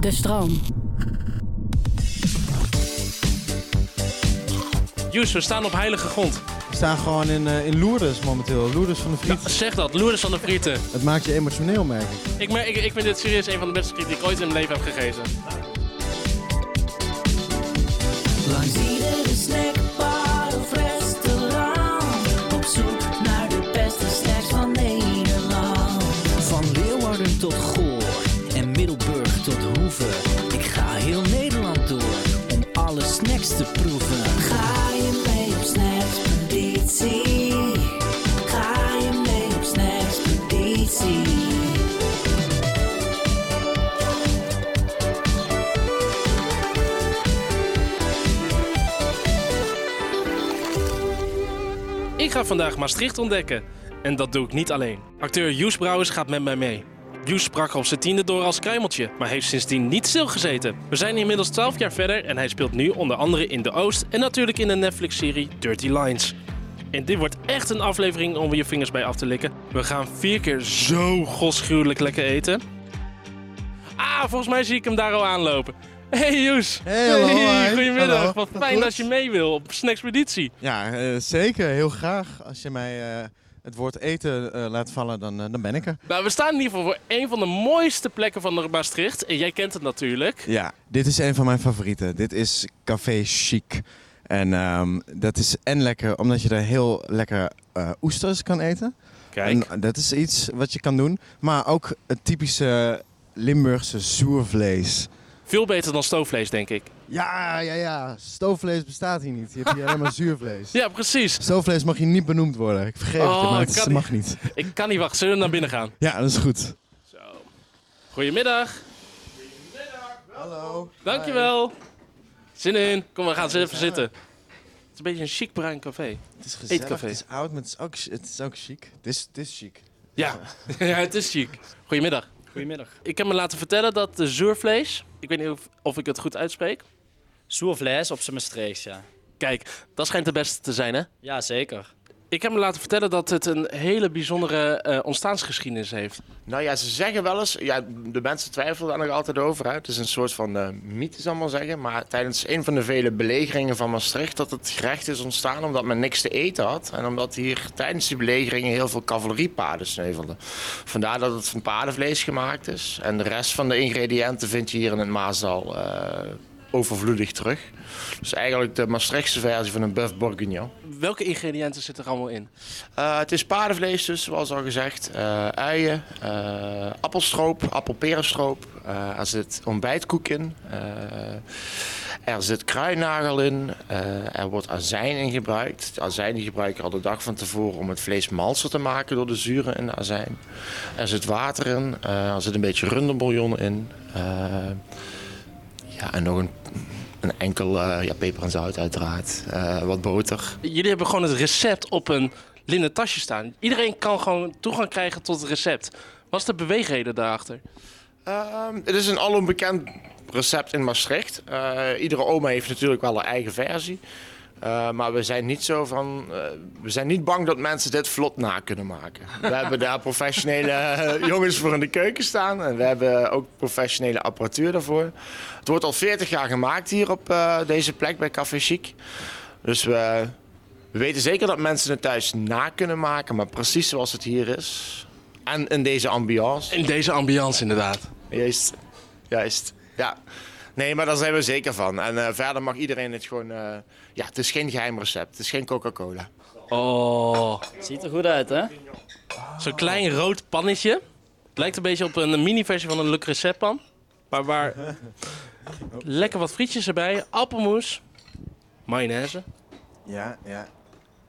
De stroom. Jus, we staan op heilige grond. We staan gewoon in, eh, in Lourdes momenteel. Lourdes van de Vliet. Zeg dat, Lourdes van de Frieten. Het maakt je emotioneel, merk ik. Ik, merk- ik, ik vind dit serieus een van de beste frieten die ik ooit in mijn leven heb gegeten. Langs iedere snackbar of restaurant Op zoek naar de beste snacks van Nederland Van Leeuwarden tot Goor en Middelburg tot Hoeve. Ik ga heel Nederland door om alle snacks te proeven. Ga je mee op snackspeditie? Ga je mee op snackspeditie? Ik ga vandaag Maastricht ontdekken. En dat doe ik niet alleen. Acteur Joes Brouwers gaat met mij mee. Joes sprak op zijn tiende door als kruimeltje, maar heeft sindsdien niet stilgezeten. We zijn inmiddels 12 jaar verder en hij speelt nu onder andere in De Oost en natuurlijk in de Netflix-serie Dirty Lines. En dit wordt echt een aflevering om je vingers bij af te likken. We gaan vier keer zo godsgruwelijk lekker eten. Ah, volgens mij zie ik hem daar al aanlopen. Hey Joes! Hey, hallo, hi. goedemiddag. Hallo. Wat Goed. fijn dat je mee wil op Snackspeditie. Ja, eh, zeker. Heel graag. Als je mij eh, het woord eten eh, laat vallen, dan, eh, dan ben ik er. Nou, we staan in ieder geval voor een van de mooiste plekken van Maastricht. En jij kent het natuurlijk. Ja, dit is een van mijn favorieten. Dit is Café Chic. En ehm, dat is en lekker, omdat je daar heel lekker eh, oesters kan eten. En eh, dat is iets wat je kan doen. Maar ook het typische Limburgse zoervlees. Veel beter dan stoofvlees, denk ik. Ja, ja, ja. Stoofvlees bestaat hier niet. Je hebt hier alleen maar zuurvlees. Ja, precies. Stoofvlees mag hier niet benoemd worden. Ik vergeef Oh, het je, maar ik het kan is- niet. mag niet. Ik kan niet wachten. Zullen we naar binnen gaan? Ja, dat is goed. Zo. Goedemiddag. Hallo. Dankjewel. Zin in. Kom, we gaan eens even zitten. Het is een beetje een chic bruin café. Het is gezellig, Eetcafé. het is oud, maar het is ook, het is ook chic. Het is, het is chic. Ja, ja het is chic. Goedemiddag. Goedemiddag. Ik heb me laten vertellen dat de zuurvlees... Ik weet niet of, of ik het goed uitspreek. Soervlees op zijn Maastricht, ja. Kijk, dat schijnt de beste te zijn, hè? Ja, zeker. Ik heb me laten vertellen dat het een hele bijzondere eh, ontstaansgeschiedenis heeft. Nou ja, ze zeggen wel eens, ja, de mensen twijfelen daar nog altijd over. Hè. Het is een soort van eh mythe, zal ik maar zeggen. Maar tijdens een van de vele belegeringen van Maastricht, dat het gerecht is ontstaan omdat men niks te eten had. En omdat hier tijdens die belegeringen heel veel cavaleriepaarden sneuvelden. Vandaar dat het van paardenvlees gemaakt is. En de rest van de ingrediënten vind je hier in het Maasdal eh, overvloedig terug. Dus eigenlijk de Maastrichtse versie van een buff bourguignon. Welke ingrediënten zitten er allemaal in? Eh, het is paardenvlees dus, zoals al gezegd. Eh, uien, eh, appelstroop, appelperenstroop. Eh, er zit ontbijtkoek in. Eh, er zit kruidnagel in. Eh, er wordt azijn in gebruikt. De azijn die gebruik je al de dag van tevoren om het vlees malser te maken door de zuren in de azijn. Er zit water in. Eh, er zit een beetje runderbouillon in. Eh, ja, en nog een, een enkel eh, ja, peper en zout uiteraard. Eh, wat boter. Jullie hebben gewoon het recept op een linnen tasje staan. Iedereen kan gewoon toegang krijgen tot het recept. Wat is de beweegreden daarachter? Ehm, het is een alom bekend recept in Maastricht. Eh, iedere oma heeft natuurlijk wel haar eigen versie. Eh, maar we zijn niet zo van. eh, we zijn niet bang dat mensen dit vlot na kunnen maken. We hebben daar professionele eh, jongens voor in de keuken staan. En we hebben ook professionele apparatuur daarvoor. Het wordt al 40 jaar gemaakt hier op eh, deze plek bij Café Chic. Dus we, we weten zeker dat mensen het thuis na kunnen maken. Maar precies zoals het hier is. En in deze ambiance. In deze ambiance inderdaad. Juist. Juist. Ja. Nee, maar daar zijn we zeker van. En eh, verder mag iedereen het gewoon... eh, ja, het is geen geheim recept. Het is geen Coca-Cola. Oh, Ziet er goed uit, hè? zo'n klein rood pannetje. Het lijkt een beetje op een mini-versie van een Le Creuset pan. Maar waar lekker wat frietjes erbij, appelmoes, mayonaise. Ja, ja.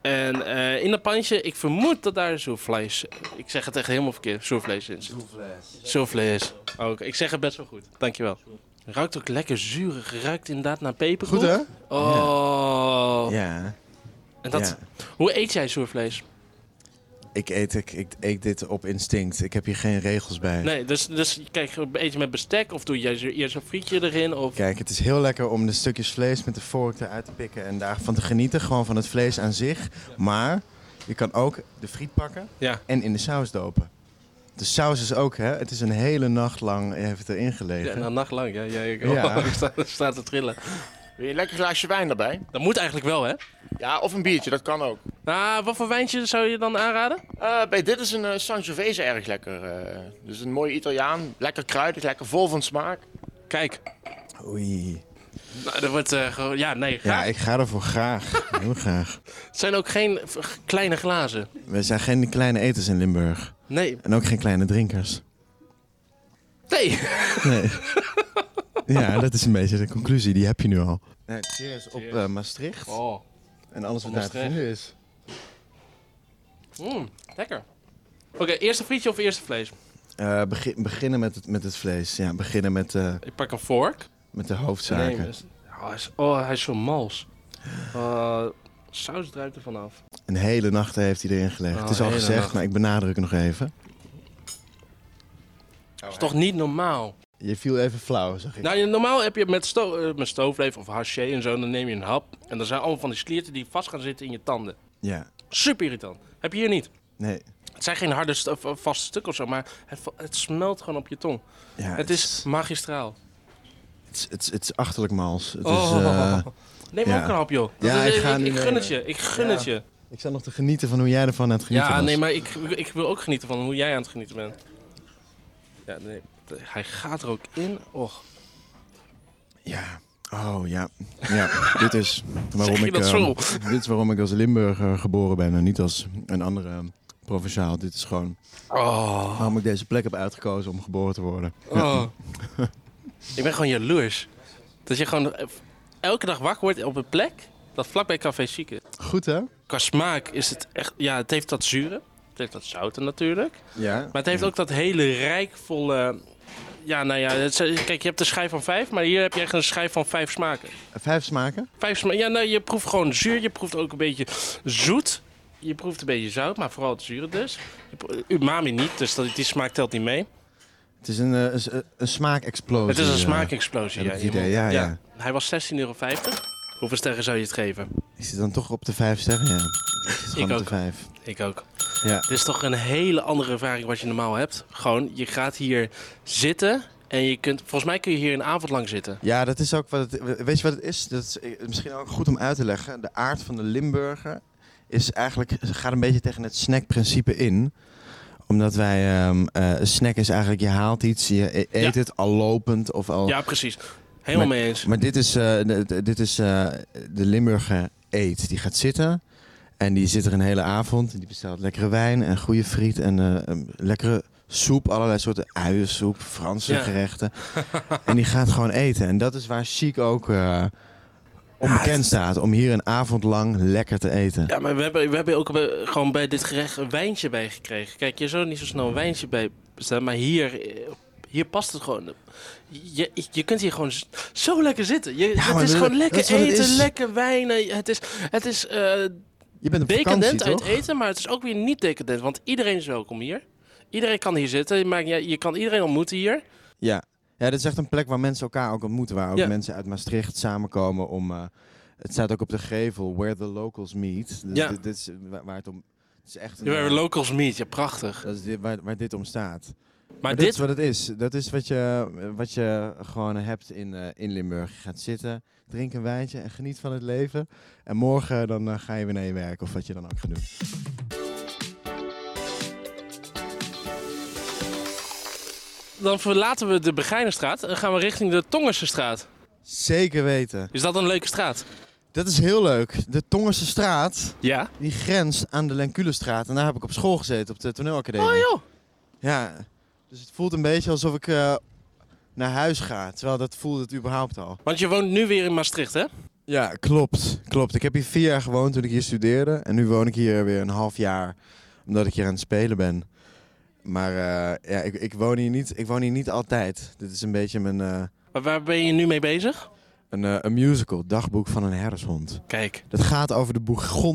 En eh, in dat pannetje, ik vermoed dat daar zoervlees... Ik zeg het echt helemaal verkeerd, zoervlees in zit. Zoervlees. Ook, ik zeg het best wel goed. Dankjewel. Ruikt ook lekker zuurig. Ruikt inderdaad naar peperkoek. Goed hè? Oh. Ja. En dat, ja. Hoe eet jij zoervlees? Ik, eet, ik, ik eet dit op instinct. Ik heb hier geen regels bij. Nee, dus, dus kijk, eet je met bestek of doe je eerst een frietje erin? Of... Kijk, het is heel lekker om de stukjes vlees met de vork eruit te pikken en daarvan te genieten. Gewoon van het vlees aan zich. Maar je kan ook de friet pakken Ja. en in de saus dopen. De saus is ook, hè? Het is een hele nacht lang heeft het erin Ja, gelegen. nou, nachtlang. Ja, ja, ik, Ja. ik sta, ik sta te trillen. Wil je een lekker glaasje wijn erbij? Dat moet eigenlijk wel, hè? Ja, of een biertje. Dat kan ook. Nou, wat voor wijntje zou je dan aanraden? Eh, bij dit is een eh, Sangiovese erg lekker. eh. dus een mooie Italiaan. Lekker kruidig, lekker vol van smaak. Kijk, Oei. nou, dat wordt eh, gewoon... Ja, nee, graag. Ja, ik ga ervoor graag. Heel graag. Het zijn ook geen v- kleine glazen. We zijn geen kleine eters in Limburg. Nee. En ook geen kleine drinkers. Nee. Nee. ja, dat is een beetje de conclusie. Die heb je nu al. Nee, cheers op eh, Maastricht. Oh. En alles wat Op daar te vinden is. Mm, lekker. Oké, eerste frietje of eerste vlees? Eh, begin- beginnen met het, met het vlees. Ja, beginnen met, eh, Ik pak een vork. met de hoofdzaken. Nee, dus- oh, hij is, oh, hij is zo mals. Eh, saus druipt er vanaf. Een hele nacht heeft hij erin gelegd. Oh, het is al hele gezegd, nacht. maar ik benadruk het nog even. Dat is toch niet normaal? Je viel even flauw, zag ik. Nou, je- normaal heb je met, sto eh, met stoofleef of haché en zo, dan neem je een hap. En dan zijn allemaal van die slierten die vast gaan zitten in je tanden. Ja, Super irritant. Heb je hier niet. nee. Het zijn geen harde st- of, of vaste stukken of zo, maar het, va- het smelt gewoon op je tong. Ja, Het is magistraal. Het is, het is, het is achterlijk mals. Het is, Oh. eh, Neem maar ja. ook een hap, joh. Ja, Dat is- ik ga ik, nu, gun eh, het je. Ik gun ja. het je. ik sta nog te genieten van hoe jij ervan aan het genieten Ja, was. nee, maar ik, ik wil ook genieten van hoe jij aan het genieten bent. Ja, nee. Hij gaat er ook in. Och. Ja. Oh, ja. Ja, dit is waarom Zeg je ik... dat eh, dit is waarom ik als Limburger geboren ben en niet als een andere eh, provinciaal. Dit is gewoon Oh. waarom ik deze plek heb uitgekozen om geboren te worden. Oh. ik ben gewoon jaloers. Dat je gewoon elke dag wakker wordt op een plek dat vlakbij Café Chic is. Goed, hè? Qua smaak is het echt... Ja, het heeft dat zure. Het heeft dat zouten natuurlijk. Ja. Maar het heeft ook dat hele rijkvolle... Ja, nou ja, het is- kijk, je hebt de schijf van vijf, maar hier heb je echt een schijf van vijf smaken. Vijf smaken? Vijf smaken. Ja, nou, je proeft gewoon zuur, je proeft ook een beetje zoet. Je proeft een beetje zout, maar vooral het zure dus. Je pro- Umami niet, dus dat, die smaak telt niet mee. Oh, Het is een, eh, een, een smaakexplosie. Het is een eh. smaakexplosie. heb ik het je idee, moet- ja, ja. Hij was 16,50 euro. Hoeveel sterren zou je het geven? Ik zit dan toch op de vijf sterren, ja. Het is gewoon op ook. de vijf. Ik ook. Ja. Het is toch een hele andere ervaring wat je normaal hebt. Gewoon, je gaat hier zitten en je kunt... Volgens mij kun je hier een avond lang zitten. Ja, dat is ook wat het, weet je wat het is? Dat is eh, misschien ook goed om uit te leggen. De aard van de Limburger is eigenlijk, gaat een beetje tegen het snackprincipe in. Omdat wij, ehm, eh, een snack is eigenlijk, je haalt iets, je e- eet Ja. het al lopend of al... Ja, precies. Helemaal mee eens. Maar dit is, eh, de- de- dit is eh, de Limburger eet. Die gaat zitten en die zit er een hele avond. Die bestelt lekkere wijn en goede friet en eh, een lekkere soep. Allerlei soorten uiensoep, Franse Ja. gerechten. en die gaat gewoon eten. En dat is waar Chic ook eh, onbekend staat. Om hier een avond lang lekker te eten. Ah, Ja, maar we hebben, we hebben ook bij- gewoon bij dit gerecht een wijntje bij gekregen. Kijk, je zou niet zo snel een wijntje bij bestellen, maar hier, eh, hier past het gewoon. Je, je kunt hier gewoon z- zo lekker zitten. Je, het maar is dat- gewoon dat lekker is wat het eten, is. lekker wijnen. Het is, het is eh, Je bent op vakantie, decadent uit toch? eten, maar het is ook weer niet decadent, want iedereen is welkom hier. Iedereen kan hier zitten, je, maakt, niet uit- je kan iedereen ontmoeten hier. Ja. ja, dit is echt een plek waar mensen elkaar ook ontmoeten. Waar ook Ja. mensen uit Maastricht samenkomen om... eh, het staat ook op de gevel, where the locals meet. Dus Ja. Dit, dit is waar, waar het om... Het is echt een, We hebben eh, locals meet, ja prachtig. Dat is dit, waar, waar dit om staat. Maar, Maar, dat dit, is wat het is. Dat is wat je, wat je gewoon hebt in, eh, in Limburg. Je gaat zitten, drink een wijntje en geniet van het leven. En morgen dan eh, ga je weer naar je werk of wat je dan ook gaat doen. dan verlaten we de Begijnenstraat en gaan we richting de Tongersestraat. Zeker weten. Is dat een leuke straat? Dat is heel leuk. De Tongerse straat, Ja. die grenst aan de Lenculestraat. En daar heb ik op school gezeten, op de toneelacademie. Oh joh. Ja, dus het voelt een beetje alsof ik eh, naar huis ga. Terwijl dat voelde het überhaupt al. Want je woont nu weer in Maastricht, hè? Ja, klopt. Klopt. Ik heb hier vier jaar gewoond toen ik hier studeerde. En nu woon ik hier weer een half jaar, omdat ik hier aan het spelen ben. Maar eh, ja, ik, ik, woon hier niet, ik woon hier niet altijd. Dit is een beetje mijn eh, Maar waar ben je nu mee bezig? een, eh, een musical, Dagboek van een herdershond. Kijk, Dat gaat over de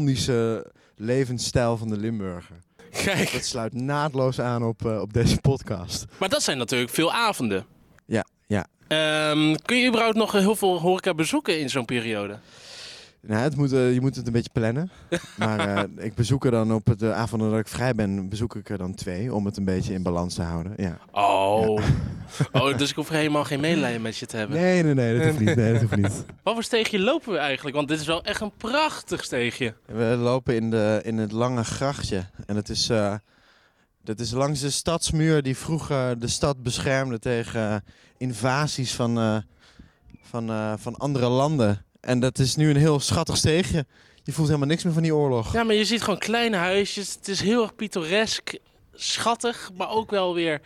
Bourgondische levensstijl van de Limburger. kijk. Dat sluit naadloos aan op, eh, op deze podcast. Maar dat zijn natuurlijk veel avonden. Ja, ja. Ehm, kun je überhaupt nog heel veel horeca bezoeken in zo'n periode? Nou, het moet, eh, je moet het een beetje plannen. Maar eh, ik bezoek er dan op de avonden dat ik vrij ben, bezoek ik er dan twee. Om het een beetje in balans te houden. Ja. Oh. oh, dus ik hoef helemaal geen medelijden met je te hebben. Nee, nee, nee, dat hoeft niet. Nee, dat hoeft niet. Wat voor steegje lopen we eigenlijk? Want dit is wel echt een prachtig steegje. We lopen in, de, in het lange grachtje. En dat is, eh, dat is langs de stadsmuur die vroeger de stad beschermde tegen eh, invasies van, eh, van, eh, van andere landen. En dat is nu een heel schattig steegje. Je voelt helemaal niks meer van die oorlog. Ja, maar je ziet gewoon kleine huisjes. Het is heel erg pittoresk, schattig, maar ook wel weer...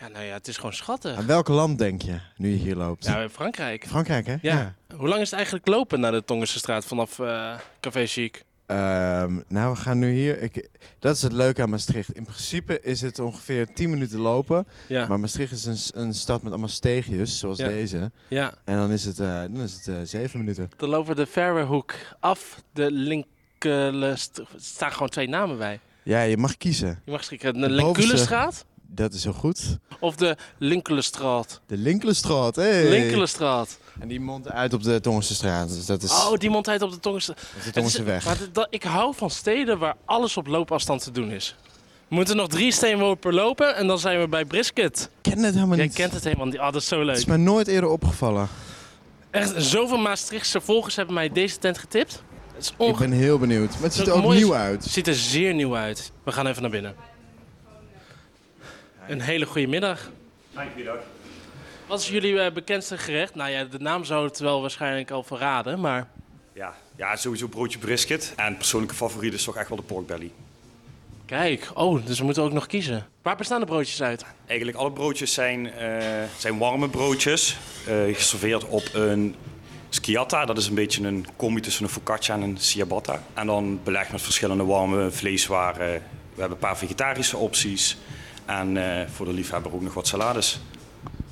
Ja, nou ja, het is gewoon schattig. Aan welk land denk je nu je hier loopt? Ja, in Frankrijk. Frankrijk, hè? Ja. Hoe lang is het eigenlijk lopen naar de Tongerse straat vanaf eh, Café Chic? Ehm, nou, we gaan nu hier. Ik, dat is het leuke aan Maastricht. In principe is het ongeveer 10 minuten lopen. Ja. Maar Maastricht is een, s- een stad met allemaal steegjes, zoals Ja. deze. ja. En dan is het, eh, dan is het eh, zeven minuten. Dan lopen we de Fairwayhoek af. De Linkelest... Er staan gewoon twee namen bij. Ja, je mag kiezen. Je mag schrikken. De De bovenste. Linkulenstraat Dat is heel goed. of de Linkelenstraat? De Linkelenstraat, hey. Linkelenstraat. En die mondt uit op de Tongense straat. Dus dat is, Oh, die mondt uit op de Tongerse... dat is de Het is- Tongense weg. Maar dat- dat- ik hou van steden waar alles op loopafstand te doen is. We moeten nog drie steenworpen lopen en dan zijn we bij Brisket. Ik ken het helemaal Jij niet. kent het helemaal niet. Ah, dat is zo Het leuk. is mij nooit eerder opgevallen. Echt, zoveel Maastrichtse volgers hebben mij deze tent getipt. Het is Ik onge- ben heel benieuwd. Maar het ziet er Ook ook mooi is- nieuw uit. ziet er zeer nieuw uit. We gaan even naar binnen. Een hele goede middag. Dankjewel. Wat is jullie eh, bekendste gerecht? Nou ja, de naam zou het wel waarschijnlijk al verraden, maar... Ja, ja, sowieso broodje brisket. En persoonlijke favoriet is toch echt wel de porkbelly. Kijk, oh, dus we moeten ook nog kiezen. Waar bestaan de broodjes uit? Eigenlijk alle broodjes zijn, eh, zijn warme broodjes. eh, geserveerd op een sciatta. Dat is een beetje een combi tussen een focaccia en een ciabatta. En dan belegd met verschillende warme vleeswaren. We hebben een paar vegetarische opties. En eh, voor de liefhebber ook nog wat salades.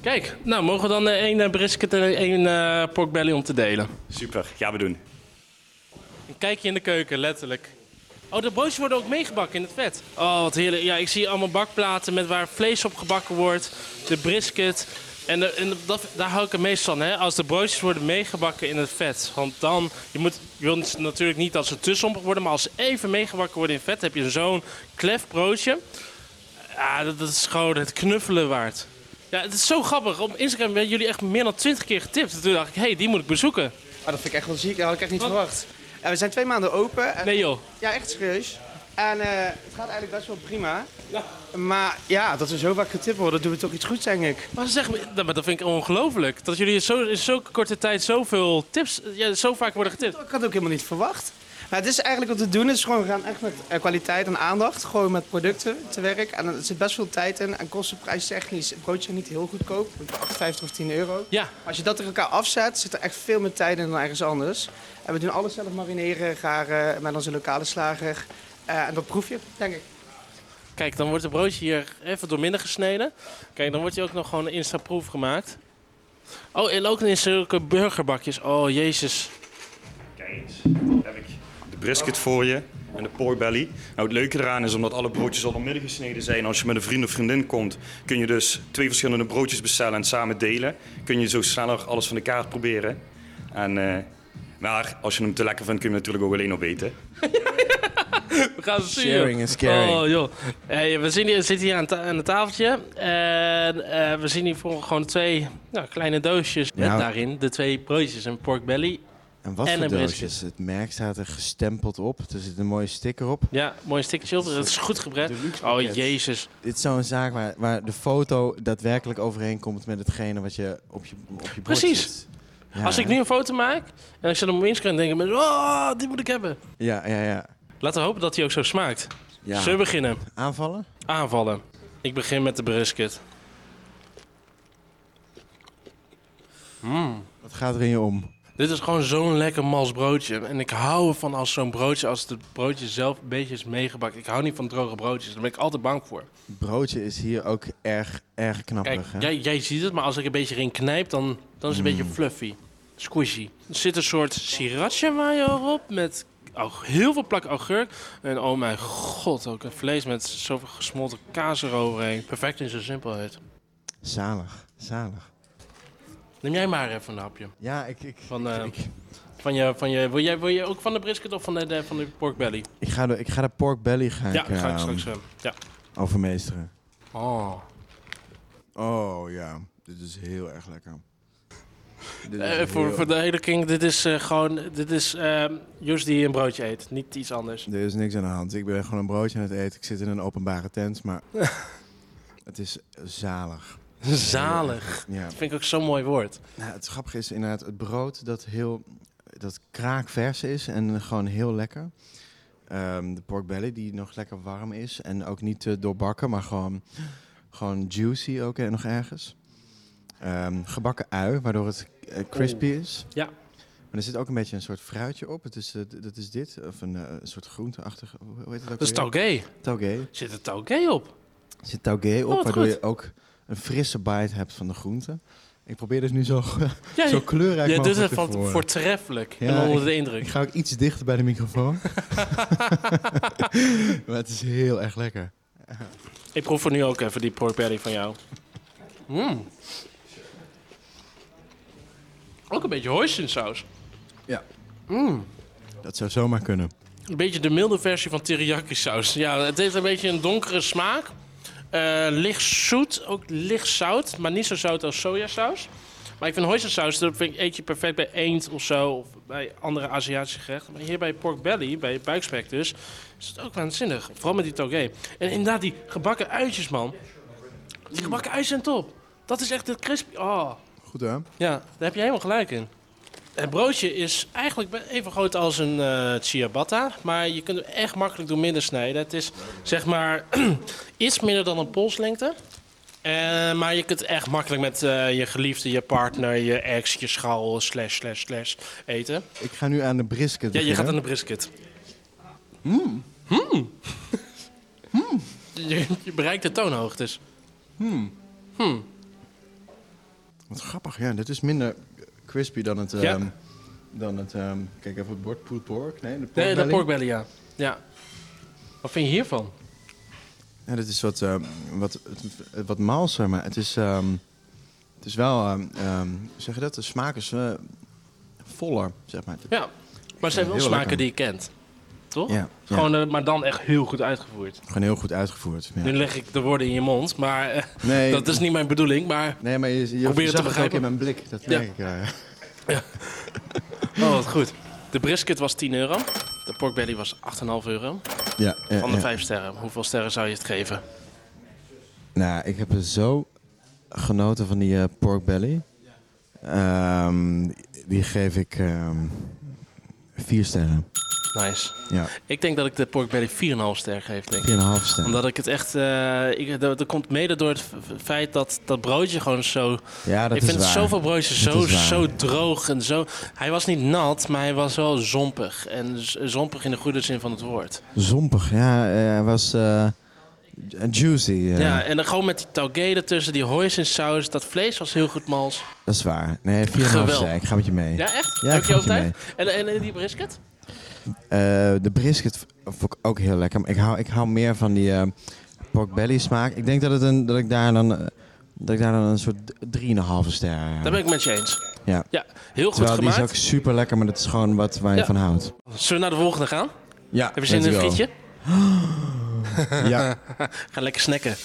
Kijk, nou mogen we dan eh, één eh, brisket en één eh, porkbelly om te delen. Super, gaan we doen. Een kijkje in de keuken, letterlijk. Oh, de broodjes worden ook meegebakken in het vet. Oh, wat heerlijk. Ja, ik zie allemaal bakplaten met waar vlees op gebakken wordt. De brisket. En, de- en dat, daar hou ik het meest van, hè. Als de broodjes worden meegebakken in het vet. Want dan, je, moet, je wilt natuurlijk niet dat ze te sompig worden. Maar als ze even meegebakken worden in vet, heb je zo'n klef broodje. Ja, dat, dat is gewoon het knuffelen waard. Ja, het is zo grappig. Op Instagram werden jullie echt meer dan twintig keer getipt. Toen dacht ik, hé, hey, die moet ik bezoeken. Ah, dat vind ik echt wel ziek, dat had ik echt niet Wat? verwacht. Ja, we zijn twee maanden open. En, Nee joh. Ja, echt serieus. En eh, het gaat eigenlijk best wel prima. Maar ja, dat we zo vaak getipt worden, doen we toch iets goeds, denk ik. Maar zeg, maar nou, maar dat vind ik ongelooflijk. Dat jullie in zo- in zo'n korte tijd zoveel tips, ja, zo vaak worden getipt. Ik had het ook helemaal niet verwacht. Maar het is eigenlijk wat we doen, is gewoon we gaan echt met eh, kwaliteit en aandacht, gewoon met producten te werk. En er zit best veel tijd in en kostenprijstechnisch. Het broodje is niet heel goedkoop, 58 of 10 euro. Ja, Als je dat tegen elkaar afzet, zit er echt veel meer tijd in dan ergens anders. En we doen alles zelf marineren, garen, met onze lokale slager. Eh, en dat proef je, denk ik. kijk, dan wordt het broodje hier even door midden gesneden. Kijk, dan wordt je ook nog gewoon een Insta-proef gemaakt. Oh, en ook in zulke burgerbakjes. Oh, jezus. Kijk eens, daar heb ik de brisket voor je en de porkbelly. Nou, het leuke eraan is omdat alle broodjes al door midden gesneden zijn. Als je met een vriend of vriendin komt, kun je dus twee verschillende broodjes bestellen en samen delen. Kun je zo sneller alles van de kaart proberen. En, eh, maar als je hem te lekker vindt, kun je hem natuurlijk ook alleen op eten. We gaan het zien. Sharing joh. is caring. Oh, joh. Hey, we zien hier, zitten hier aan, ta- aan het tafeltje. En eh, we zien hier voor gewoon twee nou, kleine doosjes. Met Ja. daarin de twee broodjes. Een pork belly En wat En voor een doosjes? brisket. Het merk staat er gestempeld op. Er zit een mooie sticker op. Ja, mooi stikje over. Het is goed gebreid. Oh, jezus. Dit is zo'n zaak waar, waar de foto daadwerkelijk overeenkomt met hetgene wat je op je, op je bord Precies. zet. Ja, Als ik hè? nu een foto maak en ik zet hem op Instagram, denken mensen, oh, die moet ik hebben. Ja, ja, ja. Laten we hopen dat hij ook zo smaakt. Ja. Zullen we beginnen? Aanvallen? Aanvallen. Ik begin met de brisket. Mm. Wat gaat er in je om? Dit is gewoon zo'n lekker mals broodje. En ik hou ervan als zo'n broodje, als het broodje zelf een beetje is meegebakken. Ik hou niet van droge broodjes, daar ben ik altijd bang voor. Broodje is hier ook erg, erg knapperig. Kijk, hè? Hmm. jij, jij ziet het, maar als ik een beetje erin knijp, dan, dan is het een beetje fluffy. Squishy. Er zit een soort sriracha mayo op met au- heel veel plak augurk. En oh mijn god, ook een vlees met zoveel gesmolten kaas eroverheen. Perfect in zijn simpelheid. Zalig, zalig. Neem jij maar even een hapje. Ja, ik... ik Van, eh, van je, van je, wil, jij, wil je ook van de brisket of van de, de- van de pork belly? Ik ga de, ik ga de pork belly gaan ja, ga ik ehm, straks eh. hebben. Ja. overmeesteren. Oh. Oh ja, dit is heel erg lekker. Dit is Eh, voor, heel- voor de hele king, dit is eh, gewoon, dit is ehm Jos die een broodje eet, niet iets anders. Er is niks aan de hand. Ik ben gewoon een broodje aan het eten. Ik zit in een openbare tent, maar het is zalig. Zalig. Ja. Dat vind ik ook zo'n mooi woord. Nou, het grappige is inderdaad het brood dat heel dat kraakvers is en gewoon heel lekker. Ehm, de pork belly die nog lekker warm is en ook niet te doorbakken, maar gewoon, gewoon juicy ook eh, nog ergens. Ehm, gebakken ui, waardoor het eh, crispy is. Ja. Maar er zit ook een beetje een soort fruitje op. Het is, eh, d- dat is dit, of een eh, een soort groenteachtige, hoe hoe heet het ook Dat is alweer? taugé. Taugé. Zit er taugé op? Er zit taugé op, Oh, wat waardoor goed. je ook een frisse bite hebt van de groente. Ik probeer dus nu zo, Ja, zo je- kleurrijk Je doet mogelijk het te van, verwoorden. voortreffelijk. Ja, en onder ik- de indruk. Ik ga ook iets dichter bij de microfoon. maar het is heel erg lekker. Ik proef voor nu ook even die pork belly van jou. Mm. Ook een beetje hoisinsaus. Ja. Mm. Dat zou zomaar kunnen. Een beetje de milde versie van teriyaki saus. Ja, het heeft een beetje een donkere smaak. Eh, licht zoet, ook licht zout, maar niet zo zout als sojasaus. Maar ik vind hoisinsaus, dat vind ik, eet je perfect bij eend of zo, of bij andere Aziatische gerechten. Maar hier bij pork belly, bij buikspek dus, is het ook waanzinnig. Vooral met die toge. En inderdaad, die gebakken uitjes, man. Die gebakken uitjes zijn top. Dat is echt het crispy. Oh. Goed hè? Ja, daar heb je helemaal gelijk in. Het broodje is eigenlijk be- even groot als een eh ciabatta, maar je kunt hem echt makkelijk door midden snijden. Het is zeg maar iets minder dan een polslengte. Eh, maar je kunt echt makkelijk met eh, je geliefde, je partner, je ex, je schaal, slash, slash, slash eten. Ik ga nu aan de brisket Ja, je beginnen. gaat aan de brisket. Hmm. Je, je bereikt de toonhoogtes. Hmm. Hmm. Wat grappig. Ja, dit is minder crispy dan het... Ja. ehm, dan het ehm, kijk even op het bord. Pulled pork. Nee, de pork Nee, de belly. porkbelly, ja. ja. Wat vind je hiervan? Ja, dit is wat, ehm, wat, het- wat malser, maar het is, ehm, het is wel... ehm, ehm, hoe zeg je dat? De smaak is eh, voller, zeg maar. Ja, maar het zijn wel Heel smaken lekker. die je kent. Toch? Ja, ja. Gewoon, eh, maar dan echt heel goed uitgevoerd. Gewoon heel goed uitgevoerd. Ja. Nu leg ik de woorden in je mond, maar eh, Nee. dat is niet mijn bedoeling. Maar Nee, maar je, je Probeer het te zag het ook begrijpen. in mijn blik. Dat Ja. merk ik. eh. ja, ja. oh, wat goed. De brisket was 10 euro. De porkbelly was 8,5 euro. Ja, ja, Van de ja. 5 sterren. Hoeveel sterren zou je het geven? Nou, ik heb er zo genoten van die eh, pork belly. Ehm, die geef ik ehm, vier sterren. Nice. Ja, Ik denk dat ik de porkbelly 4,5 ster geef. Denk ik. vier en een half sterren. Omdat ik het echt. eh, ik, dat, dat komt mede door het f- feit dat dat broodje gewoon zo. Ja, dat ik is vind waar. zoveel broodjes Dat zo, is waar. zo droog en zo. Hij was niet nat, maar hij was wel zompig. En z- zompig in de goede zin van het woord. Zompig, ja. eh, Hij was eh, juicy. eh. Ja, en dan gewoon met die taugé ertussen, die hoisinsaus. Dat vlees was heel goed mals. Dat is waar. Nee, vier en een half Geweld. sterren. Ik ga met je mee. Ja, echt? Ja, Heb ik je ga ook met je tijd? mee. En, en, en die brisket? Eh, de brisket v- vond ik ook heel lekker. Maar ik hou, ik hou meer van die eh pork belly smaak. Ik denk dat, het een, dat, ik daar dan, eh, dat ik daar dan een soort d- 3,5 ster. Daar ben ik met je eens. Ja. Ja, heel goed Terwijl die is gemaakt. ook super lekker, maar dat is gewoon wat waar je Ja. van houdt. Zullen we naar de volgende gaan? Ja, Heb je zin in een frietje? Ja. Ga lekker snacken.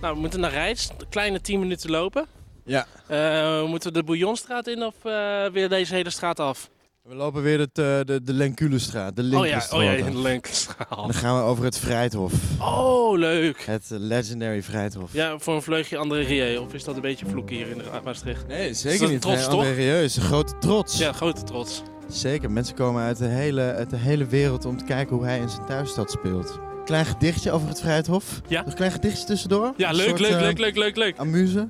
Nou, we moeten naar Rijs. Kleine 10 minuten lopen. Ja. Eh, moeten we de Bouillonstraat in of eh, weer deze hele straat af? We lopen weer het, eh, de, de Lenculestraat, de Oh ja, Linkerstraat. oh ja, af. in de En Lenkenstraat. dan gaan we over het Vrijthof. Oh, leuk. Het eh, legendary Vrijthof. Ja, voor een vleugje André Rieu. Of is dat een beetje vloeken hier in de- Maastricht? Nee, Is dat Zeker niet. trots, nee, toch? André Rieu is een grote trots. Ja, grote trots. Zeker, mensen komen uit de, hele, uit de hele wereld om te kijken hoe hij in zijn thuisstad speelt. Klein gedichtje over het Vrijthof. Ja. Nog een klein gedichtje tussendoor. Ja, Een leuk, soort, leuk, eh, leuk, leuk, leuk, leuk. Amuse.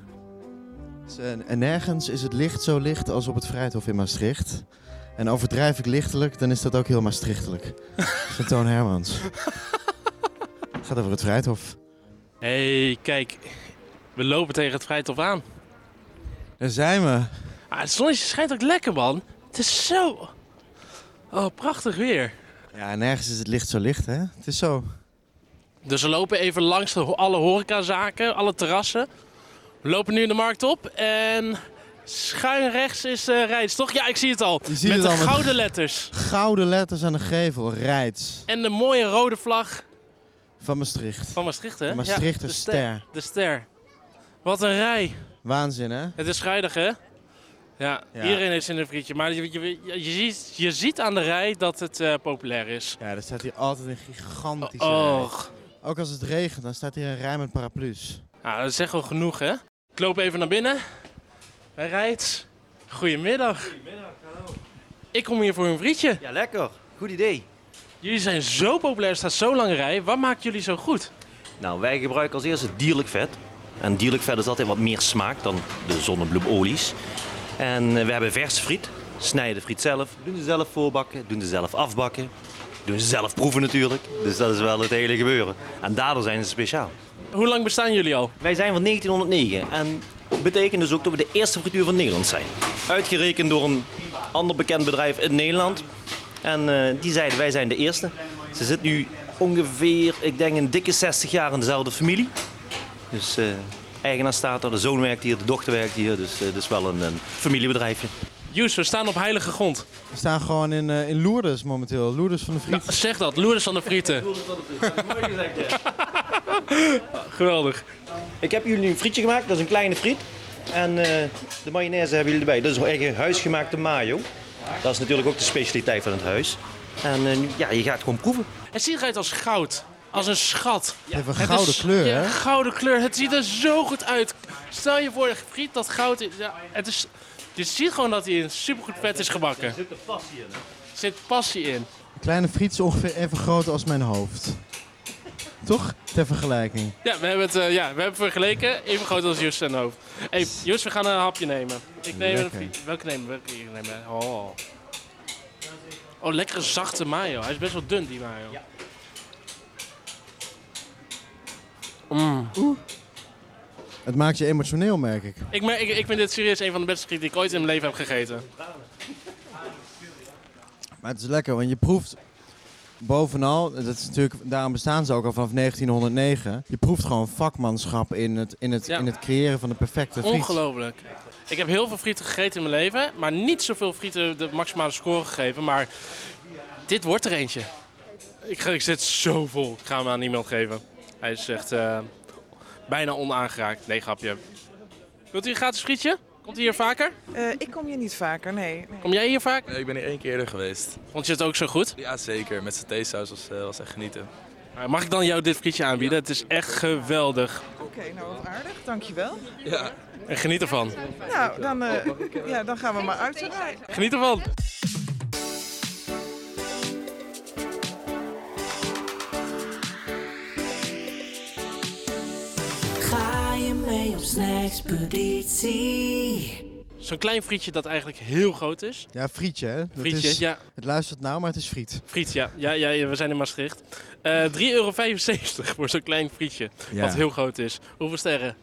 Dus, eh, En nergens is het licht zo licht als op het Vrijthof in Maastricht. En overdrijf ik lichtelijk, dan is dat ook heel Maastrichtelijk. Van Toon Hermans. Het gaat over het Vrijthof. Hé, hey, kijk. We lopen tegen het Vrijthof aan. Daar zijn we. Ah, het zonnetje schijnt ook lekker, man. Het is zo... Oh, prachtig weer. Ja, nergens is het licht zo licht, hè? Het is zo. Dus we lopen even langs de ho- alle horecazaken, alle terrassen. We lopen nu de markt op en schuin rechts is eh Rijts, toch? Ja, ik zie het al. ziet met het de al, met- gouden letters. Gouden letters aan de gevel, Rijts. En de mooie rode vlag Van Maastricht. van Maastricht, Oh, hè? De Maastrichter de ster. De ster. Wat een rij. Waanzin, hè? Het is scheidig, hè? Ja, iedereen heeft zin in een frietje. Maar je, je, je, je ziet, je ziet aan de rij dat het eh, populair is. Ja, er staat hier altijd een gigantische Oh, rij. Ook als het regent, dan staat hier een rij met paraplu's. nou, dat zeggen we genoeg, hè? Ik loop even naar binnen. Hey, Rijts. Goedemiddag. Ik kom hier voor een frietje. Ja, lekker. Goed idee. Jullie zijn zo populair, er staat zo'n lange rij. Wat maakt jullie zo goed? Nou, wij gebruiken als eerste dierlijk vet. En dierlijk vet is altijd wat meer smaak dan de zonnebloemolies. En eh, we hebben verse friet. Snijden de friet zelf. Doen ze zelf voorbakken. Doen ze zelf afbakken. Doen ze zelf proeven natuurlijk. Dus dat is wel het hele gebeuren. En daardoor zijn ze speciaal. Hoe lang bestaan jullie al? Wij zijn van 1909. En betekent dus ook dat we de eerste frituur van Nederland zijn. Uitgerekend door een ander bekend bedrijf in Nederland. En eh, die zeiden wij zijn de eerste. Ze zit nu ongeveer, ik denk een dikke 60 jaar in dezelfde familie. Dus eh, eigenaar staat er, de zoon werkt hier, de dochter werkt hier. Dus eh, het is wel een, een familiebedrijfje. Joes, we staan op heilige grond. We staan gewoon in, eh, in Lourdes momenteel. Lourdes van de Vriet. Zeg dat, Loerders van de Frieten. Geweldig. Ik heb jullie een frietje gemaakt, dat is een kleine friet. En eh, de mayonaise hebben jullie erbij. Dat is een eigen huisgemaakte mayo. Dat is natuurlijk ook de specialiteit van het huis. En eh, ja, je gaat gewoon proeven. Het ziet eruit als goud. Als een schat. Even een Het gouden is- kleur, ja, hè? gouden kleur. Het ziet er zo goed uit. Stel je voor, een friet dat goud is. Ja, het is je ziet gewoon dat hij in supergoed vet is gebakken. Er zit passie in. Er zit passie in. Een kleine friet is ongeveer even groot als mijn hoofd. Toch? Ter vergelijking. Ja, we hebben het eh, ja, we hebben vergeleken. Even groot als Jus zijn hoofd. Hey, Jus, we gaan een hapje nemen. Ik neem een Lekker. friet. Welke nemen we? Welke hier nemen we? Oh. Oh, lekkere zachte mayo. Hij is best wel dun, die mayo. Het maakt je emotioneel, merk ik. Ik, mer- ik, ik vind dit serieus een van de beste frieten die ik ooit in mijn leven heb gegeten. Maar het is lekker, want je proeft bovenal, dat is natuurlijk, daarom bestaan ze ook al vanaf 1909. Je proeft gewoon vakmanschap in het, in het, Ja. in het creëren van de perfecte friet. Ongelooflijk. Ik heb heel veel frieten gegeten in mijn leven, maar niet zoveel frieten de maximale score gegeven. Maar dit wordt er eentje. Ik, ga- ik zit zo vol. Ik ga hem aan iemand geven. Hij is echt eh, bijna onaangeraakt. Nee, grapje. Wilt u een gratis frietje? Komt u hier vaker? Eh, ik kom hier niet vaker, nee. Kom jij hier vaak? Nee, ik ben hier één keer eerder geweest. Vond je het ook zo goed? Ja, zeker. Met satésaus was, eh, was echt genieten. Eh, Mag ik dan jou dit frietje aanbieden? Het is echt geweldig. Oké, nou wat aardig, dankjewel. Ja. En geniet ervan. Nou, dan, eh, ja, dan gaan we maar uit de rij. Geniet ervan. Ga je mee op snackspeditie? Zo'n klein frietje dat eigenlijk heel groot is. Ja, frietje, hè? Dat Frietje, is- ja. Het luistert nou, maar het is friet. Friet, ja. Ja, ja, ja, we zijn in Maastricht. Eh 3,75 euro voor zo'n klein frietje. Ja. Wat heel groot is. Hoeveel sterren?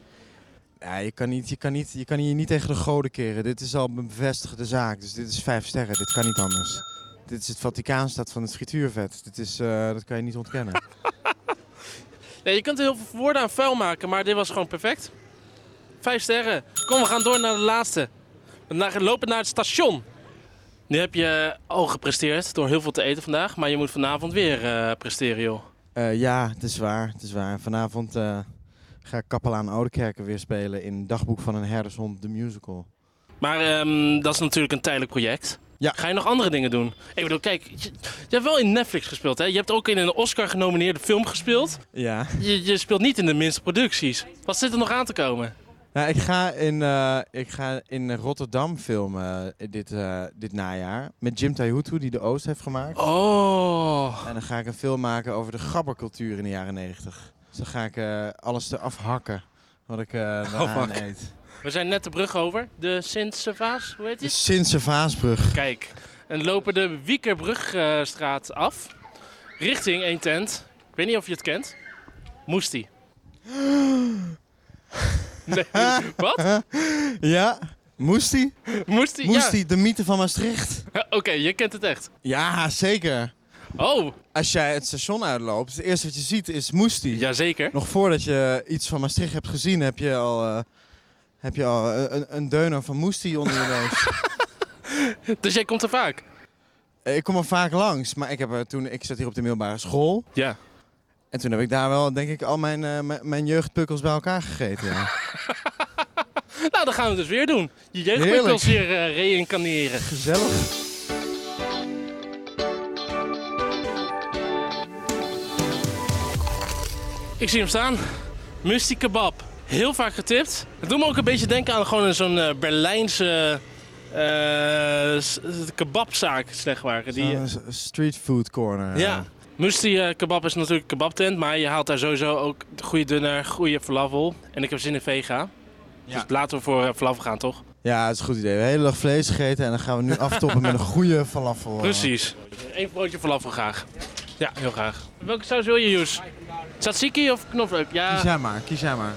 Ja, je kan, niet, je, kan niet, je kan hier niet tegen de goden keren. Dit is al een bevestigde zaak, dus dit is vijf sterren. Dit kan niet anders. Dit is het Vaticaanstad van het frituurvet. Dit is, eh, dat kan je niet ontkennen. Nee, je kunt er heel veel woorden aan vuil maken, maar dit was gewoon perfect. Vijf sterren. Kom, we gaan door naar de laatste. We na- lopen naar het station. Nu heb je eh, al gepresteerd door heel veel te eten vandaag, maar je moet vanavond weer eh, presteren, joh. Eh, ja, het is waar, het is waar. Vanavond eh, ga Kapelaan Oudekerken weer spelen in Dagboek van een Herdershond, de musical. Maar ehm, dat is natuurlijk een tijdelijk project. Ga je nog andere dingen doen? Ik bedoel, kijk, je, je hebt wel in Netflix gespeeld, hè? Je hebt ook in een Oscar-genomineerde film gespeeld. Ja. Je, je speelt niet in de minste producties. Wat zit er nog aan te komen? Nou, ik ga in, eh, ik ga in Rotterdam filmen eh, dit, eh, dit najaar. Met Jim Taihutu, die de Oost heeft gemaakt. Oh. En dan ga ik een film maken over de gabbercultuur in de jaren negentig. Dus dan ga ik eh, alles eraf hakken wat ik eh daaraan fuck. eet. We zijn net de brug over. De Sint-Servaas, hoe heet die? Sintse Vaasbrug. Dus Kijk, en lopen de Wiekerbrugstraat af. Richting één tent. Ik weet niet of je het kent. Moestie. Nee, wat? Ja, Moestie? Moestie, ja. Moestie, de mythe van Maastricht. Oké, je kent het echt. Ja, zeker. Oh. Als jij het station uitloopt, het eerste wat je ziet is Moestie. Jazeker. Nog voordat je iets van Maastricht hebt gezien, heb je al, eh, heb je al eh, een, een deuner van Moestie onder je neus. Dus jij komt er vaak? Eh, Ik kom er vaak langs, maar ik, heb er toen, ik zat hier op de middelbare school. Ja. En toen heb ik daar wel, denk ik, al mijn, eh, mijn- mijn jeugdpukkels bij elkaar gegeten. Ja. Nou, dat gaan we het dus weer doen. Je Heerlijk. jeugdpukkels hier eh, reïncarneren. Gezellig. Ik zie hem staan. Musty kebab. Heel vaak getipt. Het doet me ook een beetje denken aan gewoon zo'n eh, Berlijnse eh, s- kebabzaak, zeg maar. Die, Zo'n eh, s- street food corner. Ja. Musti eh, kebab is natuurlijk een kebabtent, maar je haalt daar sowieso ook goede dunner, goede falafel. En ik heb zin in vega. Dus laten we voor eh, falafel gaan, toch? Ja, dat is een goed idee. We hebben de hele dag vlees gegeten en dan gaan we nu aftoppen met een goede falafel. eh. Precies. Eén broodje falafel graag. Ja, heel graag. Welke saus wil je, Joes? Tzatziki of knoflook? Ja. Kies jij maar, kies jij maar.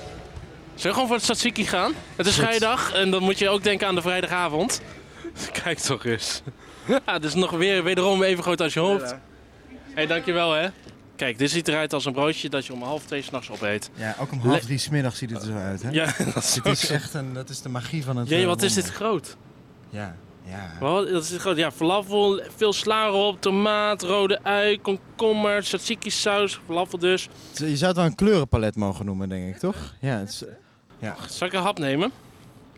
Zullen we gewoon voor het tzatziki gaan? Het is Goed. vrijdag en dan moet je ook denken aan de vrijdagavond. Kijk toch eens. Ja, dus nog weer wederom even groot als je hoopt. Hé, hey, dankjewel hè. Kijk, dit ziet eruit als een broodje dat je om half twee s'nachts opeet. Ja, ook om half drie smiddags ziet het er zo uit, hè? Ja, dat is Dit ook is zo. echt een, dat is de magie van het... Jee, eh, wat is wonder. dit groot? Ja, ja. Wat, dat is groot. Ja, falafel, veel sla erop, tomaat, rode ui, komkommer, tzatziki saus, falafel dus. Je zou het wel een kleurenpalet mogen noemen, denk ik, toch? Ja, het is, ja. Zal ik een hap nemen?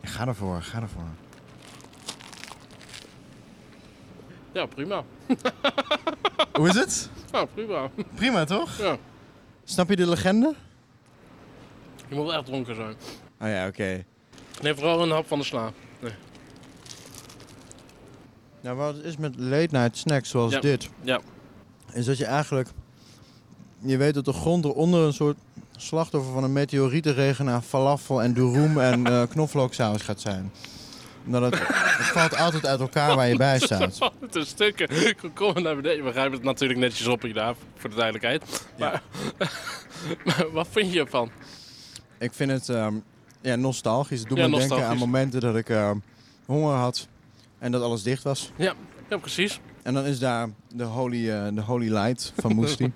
ga ervoor, ga ervoor. Ja, prima. Hoe is het? Ja, prima. Prima, toch? Ja. Snap je de legende? Je moet wel echt dronken zijn. Oh ja, oké. Neem vooral een hap van de sla. Nee. Nou, wat het is met late night snacks zoals Ja. dit, Ja. is dat je eigenlijk... Je weet dat de grond eronder een soort slachtoffer van een meteorietenregen aan falafel en durum en eh knoflooksaus gaat zijn. Omdat het, het valt altijd uit elkaar waar je bij staat. Te stukken. Komkommer naar beneden. We grijpen het natuurlijk netjes op inderdaad, voor de duidelijkheid. Maar, maar wat vind je ervan? Ik vind het ehm, ja, nostalgisch. Het doet Ja, me denken aan nostalgisch. momenten dat ik ehm, honger had en dat alles dicht was. Ja, ja precies. En dan is daar de Holy, eh, de holy Light van Moestie.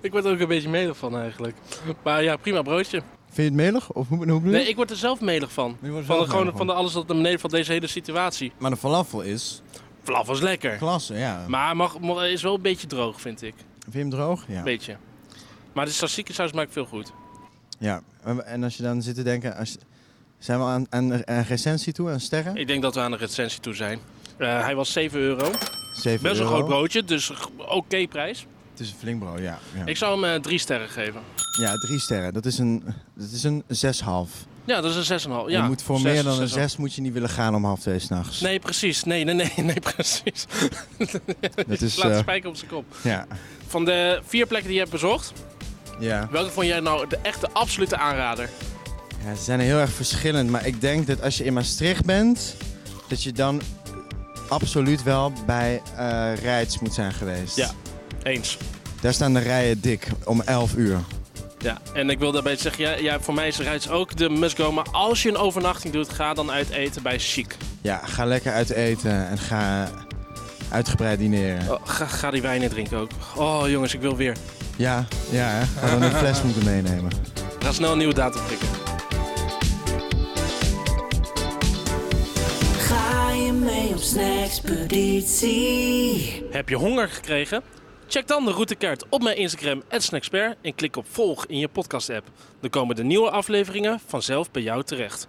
Ik word er ook een beetje melig van eigenlijk. Maar ja, prima broodje. Vind je het melig? Of hoe, hoe bedoel je? Nee, ik word er zelf melig van. wordt er Van, de, zelf gewoon, melig van de alles dat naar beneden van deze hele situatie. Maar de falafel is Flaf was lekker. klasse, ja. Maar mag, mag- is wel een beetje droog, vind ik. Vind je hem droog? Ja. Beetje. Maar de tzatziki saus maakt veel goed. ja. En- En als je dan zit te denken, als, zijn we aan, aan, aan recensie toe, aan sterren? Ik denk dat we aan de recensie toe zijn. Eh, hij was 7 euro. 7 Best een euro. groot broodje, dus g- oké prijs. Het is een flink brood, ja. Ja, Ik zou hem eh, drie sterren geven. ja drie sterren. Dat is een, dat is een 6,5. Ja, dat is een 6,5. Ja, je moet voor zes, meer dan een zes en- 6 moet je niet willen gaan om half twee s'nachts. Nee, precies. Nee, nee, nee, nee precies. Dat Je is, slaat de eh, spijker op zijn kop. Ja. Van de vier plekken die je hebt bezocht, Ja. welke vond jij nou de echte absolute aanrader? Ja, ze zijn heel erg verschillend, maar ik denk dat als je in Maastricht bent, dat je dan absoluut wel bij eh Rijts moet zijn geweest. Ja, eens. Daar staan de rijen dik om 11 uur. Ja, en ik wil daarbij zeggen, ja, ja, voor mij is Rijts ook de must-go. Maar als je een overnachting doet, ga dan uit eten bij Chic. Ja, ga lekker uit eten en ga uitgebreid dineren. Oh, ga, ga die wijnen drinken ook. Oh jongens, ik wil weer. Ja, ja, hè? Ga dan een fles moeten meenemen. Ga snel een nieuwe datum prikken. Ga je mee op snackspeditie? Heb je honger gekregen? Check dan de routekaart op mijn Instagram, @snacksper en klik op volg in je podcast-app. Dan komen de nieuwe afleveringen vanzelf bij jou terecht.